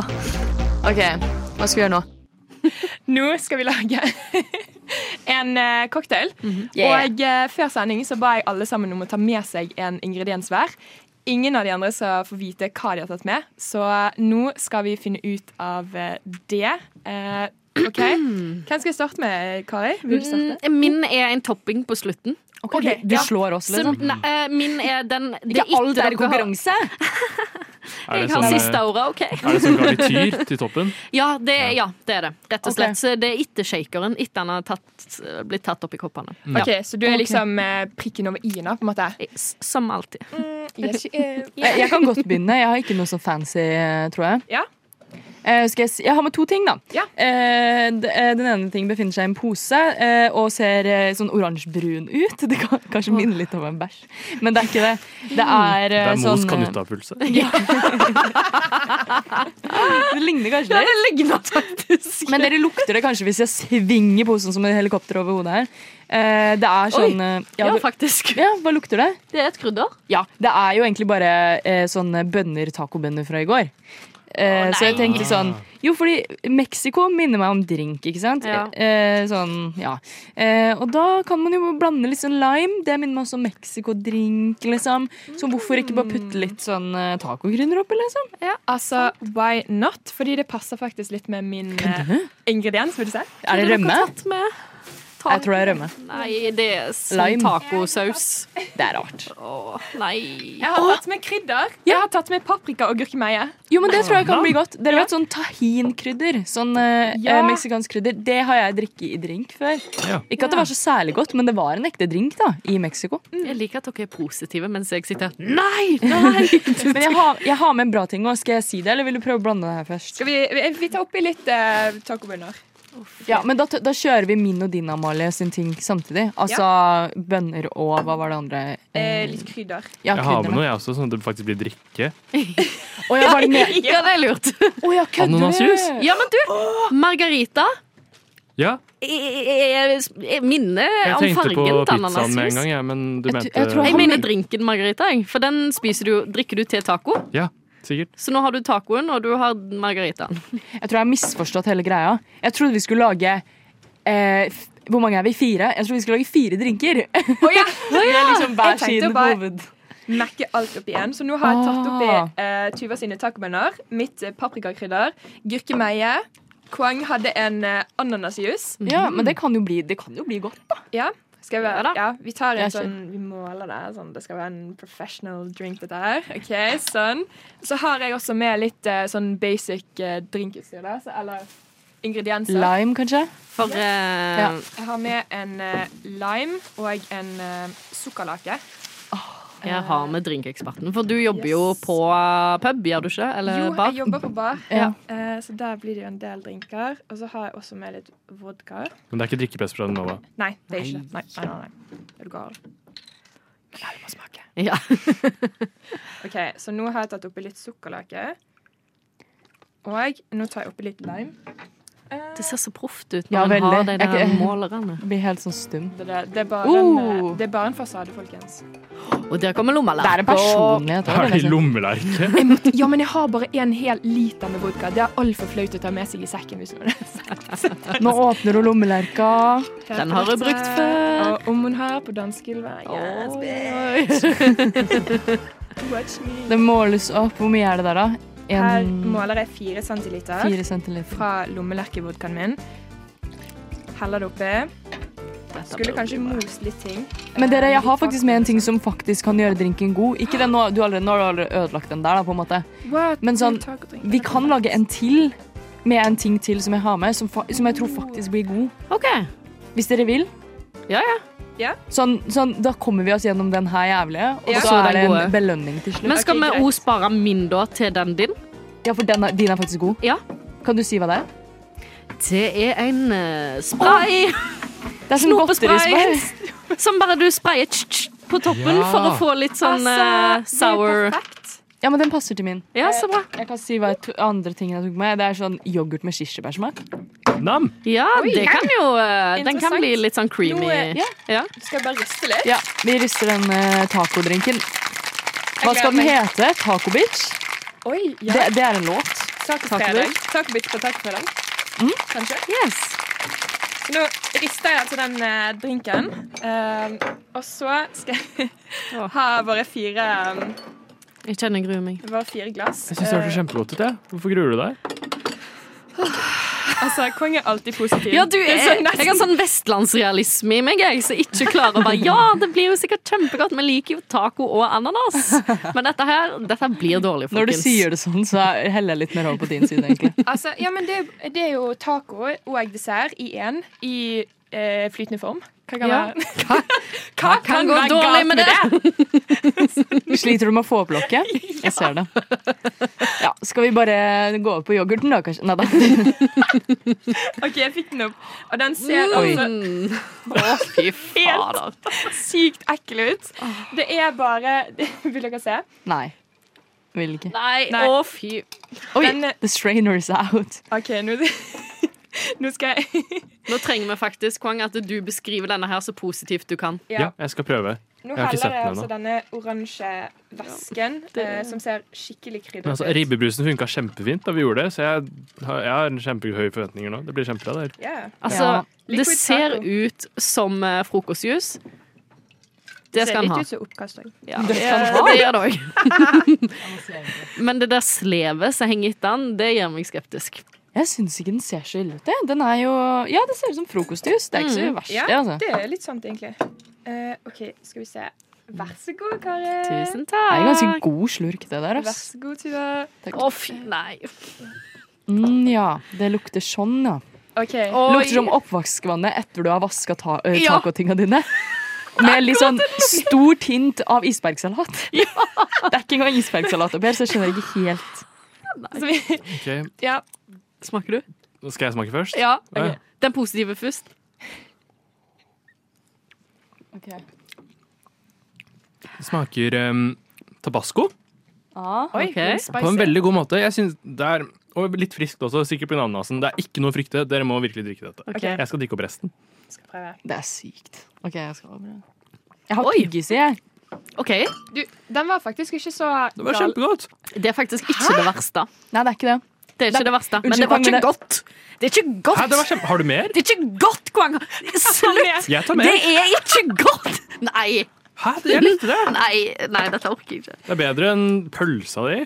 OK, hva skal vi gjøre nå?
Nå skal vi lage en eh, cocktail. Og eh, før sending så ba jeg alle sammen om å ta med seg en ingrediens hver. Ingen av de andre skal få vite hva de har tatt med, så eh, nå skal vi finne ut av eh, det. Eh, OK. Hvem skal jeg starte med, Kari? Vil du starte?
Mm, Min er en topping på slutten.
Du, du slår oss,
Som,
liksom.
nei, eh, min er den det
Ikke alt er
etter
i
dere
konkurranse!
har- Jeg har
sånn, eh,
siste ordet, OK?
Er det sånn garnityr til toppen?
Ja det, er- ja, det er det. Rett og
Ok.
slett. Så Det er etter shakeren. Etter han har tatt, eh, blitt tatt opp i koppene.
Mm.
Ja.
Ok, Så du er liksom eh, prikken over i-ene, på en måte?
S- Som alltid.
Yes, eh,
Jeg jeg kan godt begynne. Jeg har ikke noe sånn fancy, eh, tror jeg.
Ja.
Eh, skal jeg, si? jeg har med to ting, da.
Ja.
Eh, d- eh, den ene ting befinner seg i en pose eh, og ser eh, sånn oransjebrun ut. Det kan kanskje minne litt om en bæsj, men det er ikke det. Det er,
Det
eh,
er Mos
sånn eh,
kanuttapølse.
eh, Det ligner kanskje litt. Men dere lukter det kanskje hvis jeg svinger posen som et helikopter over hodet her. Eh, det er sånn eh, ja,
Ja,
du,
faktisk.
ja, hva lukter det?
Det er et krydder.
Ja, det er jo egentlig bare eh, sånne bønner, tacobønner fra i går. Eh,
Å, nei. Ah.
så jeg tenkte sånn Jo, fordi Mexico minner meg om drink, ikke sant?
Ja.
Eh, sånn, ja. Eh, og da kan man jo blande litt sånn lime. Det minner meg også om Mexico-drink, liksom. Så hvorfor ikke bare putte litt sånn eh, tacokrydder oppi, liksom?
ja, altså, why not? Fordi det passer faktisk litt med min eh, ingrediens, vil du si.
Er det rømme?
Tatt med ta-
Jeg tror det er rømme.
Nei, det er sånn
Lime.
tacosaus.
Det er rart.
Å, nei.
Jeg har tatt med krydder. Jeg har tatt med paprika og gurkemeie.
Jo, men det tror jeg kan bli godt. Dere vet sånn tahinkrydder? Sånn eh,
Ja.
eh, meksikansk krydder. Det har jeg drikket i drink før.
Ja.
Ikke at det var så særlig godt, men det var en ekte drink da, i Mexico.
Jeg liker at dere er positive mens jeg sitter her. Nei! nei.
Men jeg har, jeg har med en bra ting òg. Skal jeg si det, eller vil du prøve å blande det her først?
Skal vi, vi, vi tar oppi litt eh, tacobønner?
Ja, men da, t- da kjører vi min og din, Amalie, sin ting samtidig. Altså bønner og hva var det andre?
Eh, litt krydder.
ja,
Jeg har med
krydderne.
noe, jeg også, sånn at det faktisk blir drikke.
Å ja, var det med?
Ja, det er lurt.
Å ja, kødder
Ananasjus?
du?
Ja, men du, margarita
Ja,
Jeg, jeg, jeg minner
jeg
Eh, om
tenkte på
fargen til
pizzaen med en
ananasjus.
gang, jeg, men du
Jeg
mente
tr- jeg tror
Jeg
Han-
mener drinken margarita, jeg. for den spiser du, drikker du til taco.
Ja, sikkert.
Så nå har du tacoen, og du har margaritaen.
Jeg tror jeg har misforstått hele greia. Jeg trodde vi skulle lage eh, f- Hvor mange er vi? Fire? Jeg trodde vi skulle lage fire drinker.
Å ja!
Det er liksom
Jeg
hver
tenkte
sin
bare-
hoved.
Mekke alt oppi igjen. Så nå har jeg tatt oppi
Ah.
eh, Tuva sine tacobønner, mitt eh, paprikakrydder, gurkemeie. Kwang hadde en eh, ananasjus.
Mm. Ja, men det kan jo bli, det kan jo bli godt. altså.
Ja. Skal vi,
Ja
ja,
da.
vi tar en
Jeg
sånn Vi måler det. Sånn, det skal være en professional drink, dette her. OK, sånn. Så har jeg også med litt eh, sånn basic eh, drinkutstyr, da. Så, eller ingredienser.
Lime, kanskje?
For eh,
Ja.
Jeg har med en eh, lime og en eh, sukkerlake.
jeg har med drinkeksperten. For du jobber
Yes.
jo på pub, gjør du ikke? Eller
Jo,
Eh, bar?
jeg jobber på bar,
Ja.
eh, så der blir det jo en del drinker. Og så har jeg også med litt vodka.
Men det er ikke drikkepress fra Nova.
Nei, det er ikke det. Nei, nei, nei, nei. Er du gal? Ja, du må smake.
Ja.
OK, så nå har jeg tatt oppi litt sukkerlake. Og nå tar jeg oppi litt lime.
Det ser så proft ut
Ja,
når man
veldig.
har de der
Jeg kan-
målerne.
Blir helt sånn stum.
Det, det, det, er bare en,
Uh.
eh, det er bare en fasade, folkens.
Og der kommer
Det er
lommelerka.
en personlighet
Er
òg.
det i lommelerke?
Ja, men jeg har bare en hel liter med vodka. Det er altfor flaut å ta med seg i sekken. hvis man
Nå åpner hun lommelerka.
Den har jeg brukt før.
Og om hun har på dansegulvet. Yes, bitch. Watch me.
Det måles opp. Hvor mye er det der, da?
Her
En,
måler jeg 4 centiliter
fire centiliter.
fra lommelerkevodkaen min. Heller det oppi. Skulle kanskje most litt ting.
Men dere, jeg har faktisk med en ting som faktisk kan gjøre drinken god. Ikke den nå, du allerede, nå har du allerede ødelagt den der, da, på en måte.
What?
Men sånn,
Du tar ikke og drikker
Vi
den.
kan lage en til med en ting til som jeg har med, som, fa som jeg tror faktisk blir god.
OK.
Hvis dere vil.
Ja, ja.
Sånn, sånn, da kommer vi oss gjennom den her jævlige, og
Ja.
så
Så
er
den
det
gode.
en belønning til slutt.
Men skal
Ok,
vi
greit.
òg spare min da til den din?
Ja, for den er, din er faktisk god.
Ja.
Kan du si hva det er?
Det er en eh, spray.
Det er sånn
Snopespray.
godterispray.
Som bare du sprayer tsk, tsk, på toppen
Ja.
for å få litt sånn eh,
Altså,
sour
Det er perfekt.
Ja, men den passer til min.
Ja, så bra.
Jeg kan si hva jeg to- andre ting jeg tok med. Det er sånn yoghurt med kirsebærsmak.
Nam!
Ja, det kan jo eh, Den kan
Interessant.
bli litt sånn creamy.
Nå, eh,
ja.
Ja.
Du skal bare riste litt.
Ja, vi rister den eh, tacodrinken. Hva
Jeg
skal den
gleder
hete? Taco Bitch?
Oi, ja.
Det, det er en låt.
Tacofredag. Tacobit på tacofredag. Kanskje.
Yes.
Så nå rister jeg altså den eh, drinken. Um, og så skal jeg ha våre fire, um,
Jeg kjenner jeg gruer meg.
våre fire glass. Ehm,
Jeg syns det hørtes
Eh,
kjempegodt ut. jeg. Hvorfor gruer du deg?
Altså, Kong er alltid positiv.
Ja, du,
Det
jeg,
er sånn
jeg har sånn vestlandsrealisme i meg, jeg, som ikke klarer å bare Ja, det blir jo sikkert kjempegodt, vi liker jo taco og ananas. Men dette her, dette blir dårlig, folkens.
Når du sier det sånn, så heller jeg litt mer over på din side, egentlig.
Altså, ja, men det, er- det er jo taco og dessert i én i eh, flytende form. Hva kan,
Ja.
være- Hva
kan gå
være
dårlig
galt
med
Sliter du med å få opp lokket? Jeg ser det. Ja, skal vi bare gå over på yoghurten, da, kanskje? Nei da.
OK, jeg fikk den opp. Og den ser altså
Mm. Å, fy fader.
sykt ekkel ut. Det er bare Vil dere se?
Nei. Vil ikke.
Nei,
Nei.
å fy.
Oi,
Den,
the strainer is out.
eh, OK, nå, nå skal jeg
Nå trenger vi faktisk, Kwang, at du beskriver denne her så positivt du kan.
Ja, jeg skal prøve.
Nå
Jeg har ikke sett
heller jeg
den
altså denne oransje væsken, eh, som ser skikkelig krydret
Men altså,
ut.
Ribbebrusen funka kjempefint da vi gjorde det, så jeg har, jeg har kjempehøye forventninger nå. Det blir kjempebra. det her.
Ja.
Altså,
Ja.
det
Liquid
ser
taco.
ut som eh, frokostjuice. Det skal
ser
han ha.
litt ut som oppkast òg.
Ja, det, det gjør det òg. Men det der slevet som henger etter den, det gjør meg skeptisk.
Jeg syns ikke den ser så ille ut. det. Den er jo Ja, det ser ut som frokostjus. Det er ikke så verst,
Ja,
det, altså.
det er litt sant, egentlig. Eh, OK, skal vi se. Vær så god, Kari.
Tusen
Det er en ganske
takk.
god slurk, det der.
Vær
ass.
så god, Tuva.
Å, fy, nei.
Mm, ja, det lukter sånn, ja.
OK.
Lukter som oppvaskvannet etter du har vaska ta eh,
Ja.
tacotinga dine. Med litt sånn stor tint av isbergsalat. Det er ikke engang isbergsalat oppi her, så jeg skjønner ikke helt.
Så vi,
Ok,
ja.
Smaker du?
Skal jeg smake først?
Ja.
Ja.
Den positive først.
Det smaker em, tabasco
Oi,
på en veldig god måte. Jeg synes det er, Og litt friskt også, sikkert pga. ananasen. Det er ikke noe å frykte. Dere må virkelig drikke dette. Jeg skal drikke opp resten.
Skal prøve.
Det er sykt. OK, jeg skal over. Jeg har
Oi.
tyggis i, jeg.
OK.
Du, den var faktisk ikke så
Det var
gal.
kjempegodt.
Det er faktisk ikke det verste.
Nei, det er ikke det.
Det er ikke det verste. Men
Unnskyld,
det var
Kong, men
ikke
det-
godt. Det er ikke godt.
Hæ, det var kjempe... Har du mer?
Det er ikke godt, Kwang! Slutt!
Jeg tar
Det
mer.
er ikke godt! Nei,
Hæ, jeg likte det.
nei, nei, dette orker jeg ikke.
Det er bedre enn pølsa di.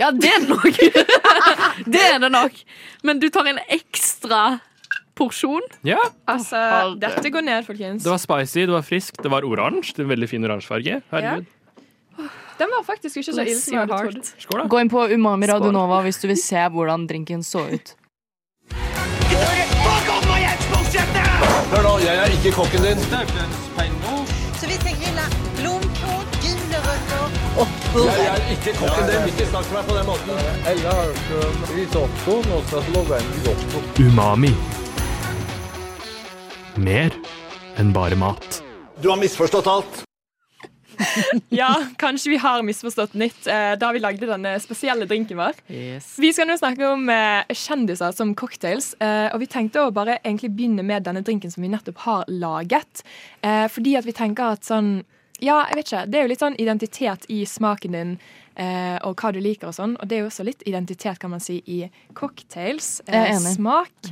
Ja, det er det nok. Det er det nok. Men du tar en ekstra porsjon.
Ja,
Altså, dette går ned, folkens.
Det var spicy, det var friskt, det var oransje. Det er en Veldig fin oransjefarge. Herregud.
Den var faktisk ikke så ille som jeg hadde trodd.
Skål, da.
Gå inn på Umami Radio
Skål.
Nova hvis du vil se hvordan drinken så ut.
Hør nå, jeg er ikke kokken din.
Så vi tenker la- blomkål, gule røtter
Jeg er ikke kokken din. Ikke snakk til meg på den måten. Ella har hørt risotto, nå skal jeg love en risotto.
Umami. Mer enn bare mat.
Du har misforstått alt.
Ja, kanskje vi har misforstått nytt eh, da vi lagde denne spesielle drinken vår. Vi skal nå snakke om eh, kjendiser som cocktails, eh, og vi tenkte å bare egentlig begynne med denne drinken som vi nettopp har laget. Eh, fordi at vi tenker at sånn Ja, jeg vet ikke. Det er jo litt sånn identitet i smaken din eh, og hva du liker og sånn. Og det er jo også litt identitet, kan man si, i cocktails.
Jeg er
Eh,
enig.
smak.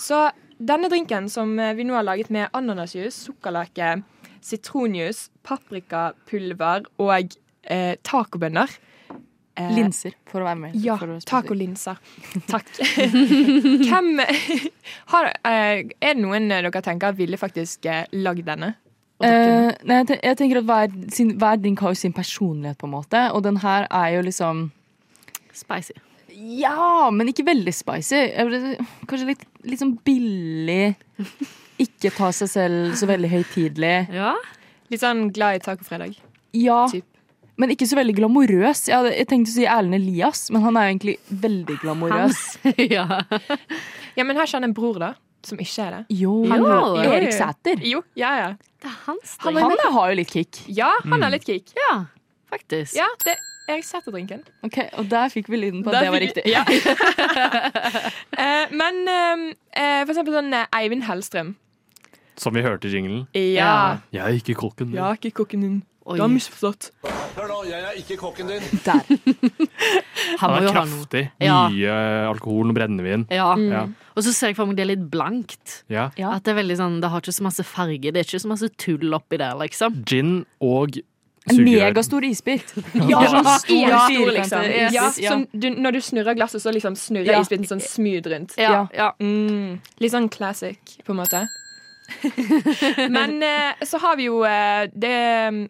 Så denne drinken som eh, vi nå har laget med ananasjus, sukkerlake, sitronjus, paprikapulver og eh, tacobønner eh,
Linser, for å være med.
ja,
for å spesifisere.
tacolinser. Takk. Hvem har, eh, Er det noen dere tenker ville faktisk eh, lagd denne? Og drukket den?
Eh, nei, jeg ten- jeg tenker at hver, sin, hver drink har jo sin personlighet, på en måte. Og den her er jo liksom
Spicy.
Ja, men ikke veldig spicy. Jeg ble- Kanskje litt, litt sånn billig. Ikke ta seg selv så veldig høytidelig.
Ja.
Litt sånn glad i tacofredag.
Ja,
Typ.
men ikke så veldig glamorøs. Jeg, hadde, jeg tenkte å si Erlend Elias, men han er jo egentlig veldig glamorøs.
ja.
Ja, men her kjenner jeg en bror, da, som ikke er det.
Jo,
Han-
jo.
Jo.
Erik Sæter.
Jo, ja, ja.
Det er hans
Han er- har jo litt kick.
Ja, han er litt geek.
Ja, faktisk.
Ja, det jeg setter drinken.
Ok, Og der fikk vi lyden på at
Der
det var
fikk-
riktig.
Ja. Eh, men eh, eh, for eksempel sånn eh, Eivind Hellstrøm.
Som vi hørte i jinglen.
Ja.
Jeg er ikke kokken.
Ja, ikke kokken din.
Oi.
Du har misforstått.
Hør nå, jeg er ikke kokken din.
Der.
Han må jo
Han er
ha noe.
kraftig.
Ja.
Mye alkohol og brennevin.
Ja.
Ja.
Og så ser jeg for meg det er litt blankt.
Mm. ja.
Ja.
At det er veldig sånn, det har ikke så masse farge, det er ikke så masse tull oppi der, liksom.
Gin og
En
Sugerør.
megastor isbit.
Ja,
Sånn
ja,
stor
ja,
firkantet
liksom.
isbit,
ja,
ja.
som du, når du snurrer glasset, så liksom snurrer
Ja.
isbiten sånn smooth rundt.
Ja,
Mm. Litt sånn classic, på en måte. Men eh, så har vi jo eh, det mm,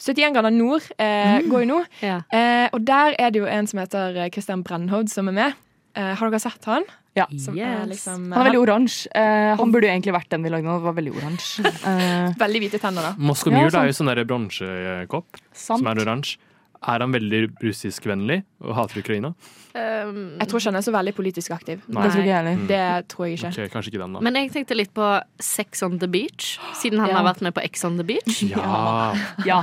71 grader nord eh,
Mm.
går jo nå.
Ja.
Eh, og der er det jo en som heter eh, Christian Brennhovd som er med. Eh, har dere sett han?
Ja.
Som er liksom-
han er veldig oransje. Eh, han burde jo egentlig vært den vi lagde nå. Han var veldig oransje. Eh,
Veldig hvite tenner, da.
Moscow Mule er jo sånn der bronsekopp
Sant.
som er oransje. Er han veldig russiskvennlig og hater Ukraina?
Ehm,
jeg tror ikke han er så veldig politisk aktiv.
Nei. Det tror ikke jeg heller.
Det tror jeg ikke.
Ok, kanskje ikke den, da.
Men jeg tenkte litt på Sex on the Beach, siden han
Ja.
har vært med på Ex on the Beach.
Ja.
ja.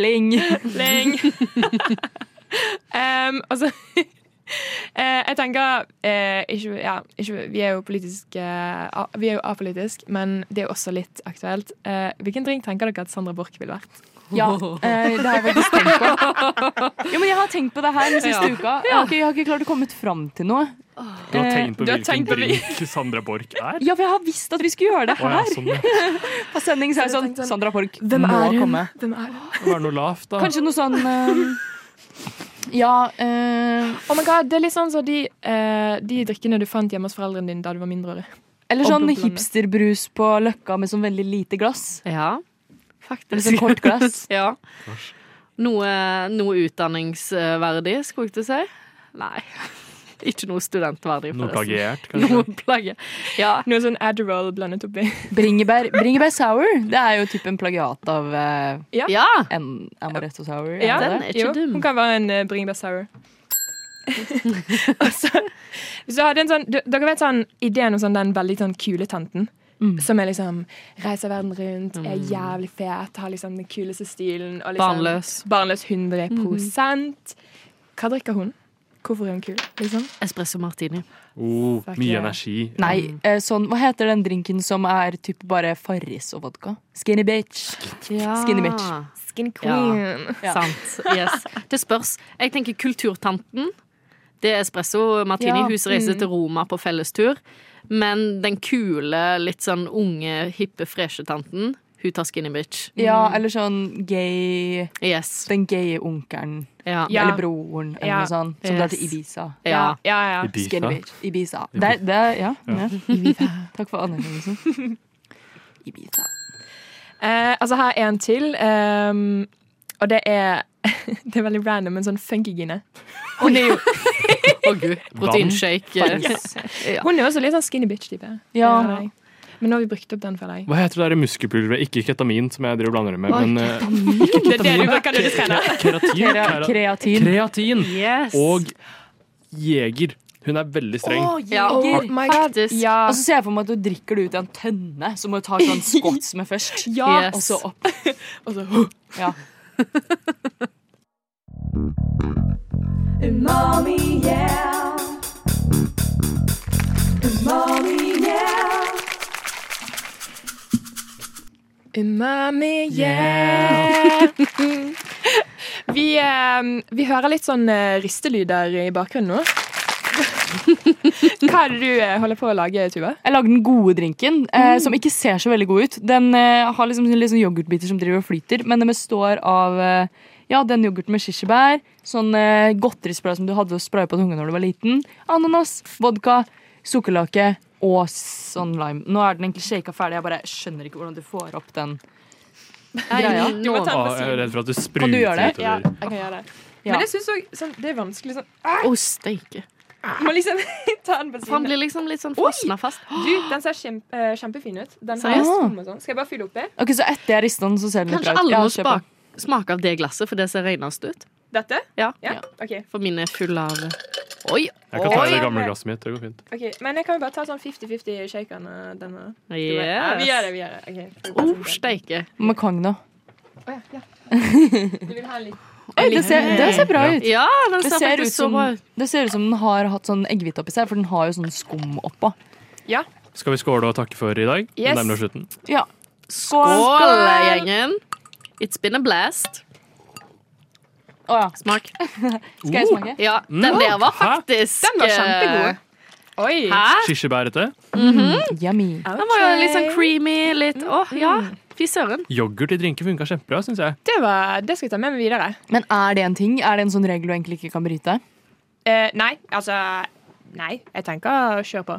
Bling.
Bling. um, altså Eh, jeg tenker eh, ikke, ja, ikke, Vi er jo politisk eh, a- Vi er jo apolitisk, men det er jo også litt aktuelt. Eh, hvilken drink tenker dere at Sandra Borch ville vært?
Ja, eh, det har jeg faktisk tenkt på. Jo, men jeg har tenkt på det her den siste
Ja.
uka. Jeg har, ikke, jeg har ikke klart å komme fram til noe.
Du har tenkt på
Du har
hvilken
tenkt på hvil-
drink Sandra Borch er?
Ja, for jeg har visst at vi skulle gjøre det
Å, ja,
her.
sånn, ja.
På sending så er det sånn Sandra Porch
Hvem
må
er hun?
komme.
Hvem er hun?
Det var noe lavt, da.
Kanskje noe sånn eh, Ja eh,
Oh my god, Det er litt sånn som de, eh, de drikkene du fant hjemme hos foreldrene dine da du var mindreårig.
Eller
Og
sånn
boblene.
hipsterbrus på Løkka med sånn veldig lite glass.
Ja, faktisk.
Eller sånn kort glass.
ja. Noe, noe utdanningsverdig, skulle jeg til å si. Nei. Ikke noe studentverdig.
Noe
forresten.
plagiert, kanskje?
Noe plage. Ja.
Noe sånn Adderall blandet oppi.
Bringebær, bringebær sour det er jo typ en plagiat av eh,
Ja.
en amaretto sour. er
Ja,
det det?
jo, Hun kan være en uh, bringebær sour. Og så, så hadde en sånn, d- dere vet sånn ideen om sånn, den veldig sånn kule tanten?
Mm.
Som er liksom reiser verden rundt, er jævlig fet, har liksom den kuleste stilen. Og liksom,
Barnløs. Mm-hmm.
Barnløs 100 Hva drikker hun? Hvorfor er hun kul? Liksom?
Espresso martini.
Oh,
Fuck
mye
yeah.
energi.
Nei,
Mm.
eh, sånn, hva heter den drinken som er typ bare Farris og vodka? Skinny bitch. Skinny bitch.
Skin
queen.
Ja.
Ja.
Sant. Yes. Det spørs. Jeg tenker Kulturtanten. Det er espresso martini.
Ja.
Hun som reiser
Mm.
til Roma på fellestur. Men den kule, litt sånn unge, hippe, freshe tanten, hun tar skinny bitch.
Ja, eller sånn gay
Yes.
Den gaye onkelen.
Ja.
Eller broren, eller
Ja.
noe sånt. Som drar til
Yes.
Ibiza.
Ja.
Ja, ja.
Skinny
Ibiza.
bitch. Ibiza.
Ibiza.
Det, er- det, er- ja.
Ja.
ja. Ibiza. Takk for anerkjennelsen. Ibiza.
Eh, altså, her er en til. ehm, og det er Det er veldig random, men sånn funkygine. Hun er jo
Å gud. Proteinshake.
Vann.
Ja.
Hun er også litt sånn skinny bitch-type.
Ja.
føler jeg. Men nå har vi brukt opp den, føler jeg.
Hva heter det der muskelpulveret? Ikke ketamin, som jeg driver og blander det med.
Oi,
Men, eh,
Det er det du bruker når du trener.
Keratin.
Kera- kreatin.
Kreatin.
Yes.
Og jeger. Hun er veldig streng.
Ja, oh my god.
Faktisk.
Ja.
Og så ser jeg for meg at du drikker det ut i en tønne, så må du ta sånn skots med først.
Ja.
Og så opp.
Og så
Ja.
Umami, yeah. Umami, yeah.
Umami, yeah! Mm. vi, eh, vi hører litt sånn eh, ristelyder i bakgrunnen nå. Hva er det du eh, holder på å lage, Tuva?
Jeg lagde den gode drinken, eh,
Mm.
som ikke ser så veldig god ut. Den eh, har liksom, litt sånn yoghurtbiter som driver og flyter, men den består av eh, ja, den yoghurten med kirsebær, sånn eh, godterispray som du hadde å spraye på tunga når du var liten, ananas, vodka, sukkerlake og sånn lime. Nå er den egentlig shaka ferdig. Jeg bare skjønner ikke hvordan du får opp den greia.
Nå- Ah, jeg er redd for at det spruter
Kan du gjøre det?
Ja,
utover.
jeg kan gjøre det.
Ja.
Men jeg syns òg sånn, det er vanskelig sånn
Å, steike.
Må liksom ta den på siden.
Han blir liksom litt sånn fastna fast.
Du, den ser kjempe, eh, kjempefin ut. Den har
Seriøst?
skum og sånn. Skal jeg bare fylle oppi?
Ok, Så etter jeg rister den, så ser den litt
Kanskje
rar ut.
alle
Ja,
må
kjør på.
spa- smake av det glasset, for det ser renest ut.
Dette?
Ja.
ok.
For mine er fulle av Oi!
Jeg kan ta
oi.
det gamle glasset mitt. Det går fint.
Ok, Men jeg kan jo bare ta sånn 50-50 shaken og denne.
Yes.
Ja, vi gjør det, vi gjør det. Ok.
Å, steike.
Med kong nå.
Å ja, ja. Du vil ha en liten
Oi, det ser, det ser bra ut.
Ja, den
det
ser
ser, ut
faktisk så
som,
bra ut.
det ser ut som den har hatt sånn eggehvite oppi seg, for den har jo sånn skum oppå.
Ja.
Skal vi skåle og takke for i dag?
Yes.
Det nærmer oss slutten.
Ja.
Skål, gjengen. It's been a blast.
Å ja.
Smak.
Skal jeg smake?
Ja, den der var faktisk
Den var kjempegod.
eh, Oi. Hæ?
Kirsebærete.
Mm. Yummy.
Den var jo litt sånn creamy. Litt Å, ja. Fy søren.
Yoghurt i drinker funka kjempebra, syns jeg.
Det, var, det skal jeg ta med meg videre.
Men er det en ting? Er det en sånn regel du egentlig ikke kan bryte?
Eh, nei, altså Nei, jeg tenker å kjøre på.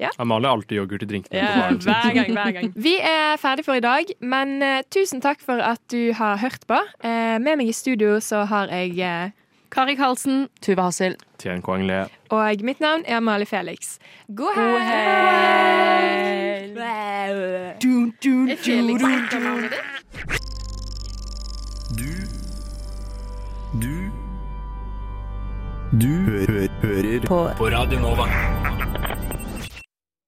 Ja.
Amalie har alltid yoghurt i drinkene.
Ja, hver gang, hver gang. Vi er ferdig for i dag, men eh, tusen takk for at du har hørt på. Eh, med meg i studio så har jeg eh,
Kari Karlsen.
Tuva Hassel.
Tjen Kwang Le.
Og mitt navn er Amalie Felix. God helg!
Dun, dun,
Er Felix
dun,
et
dun.
navnet ditt?
Du Du Du hø hø hører på. på Radio Nova.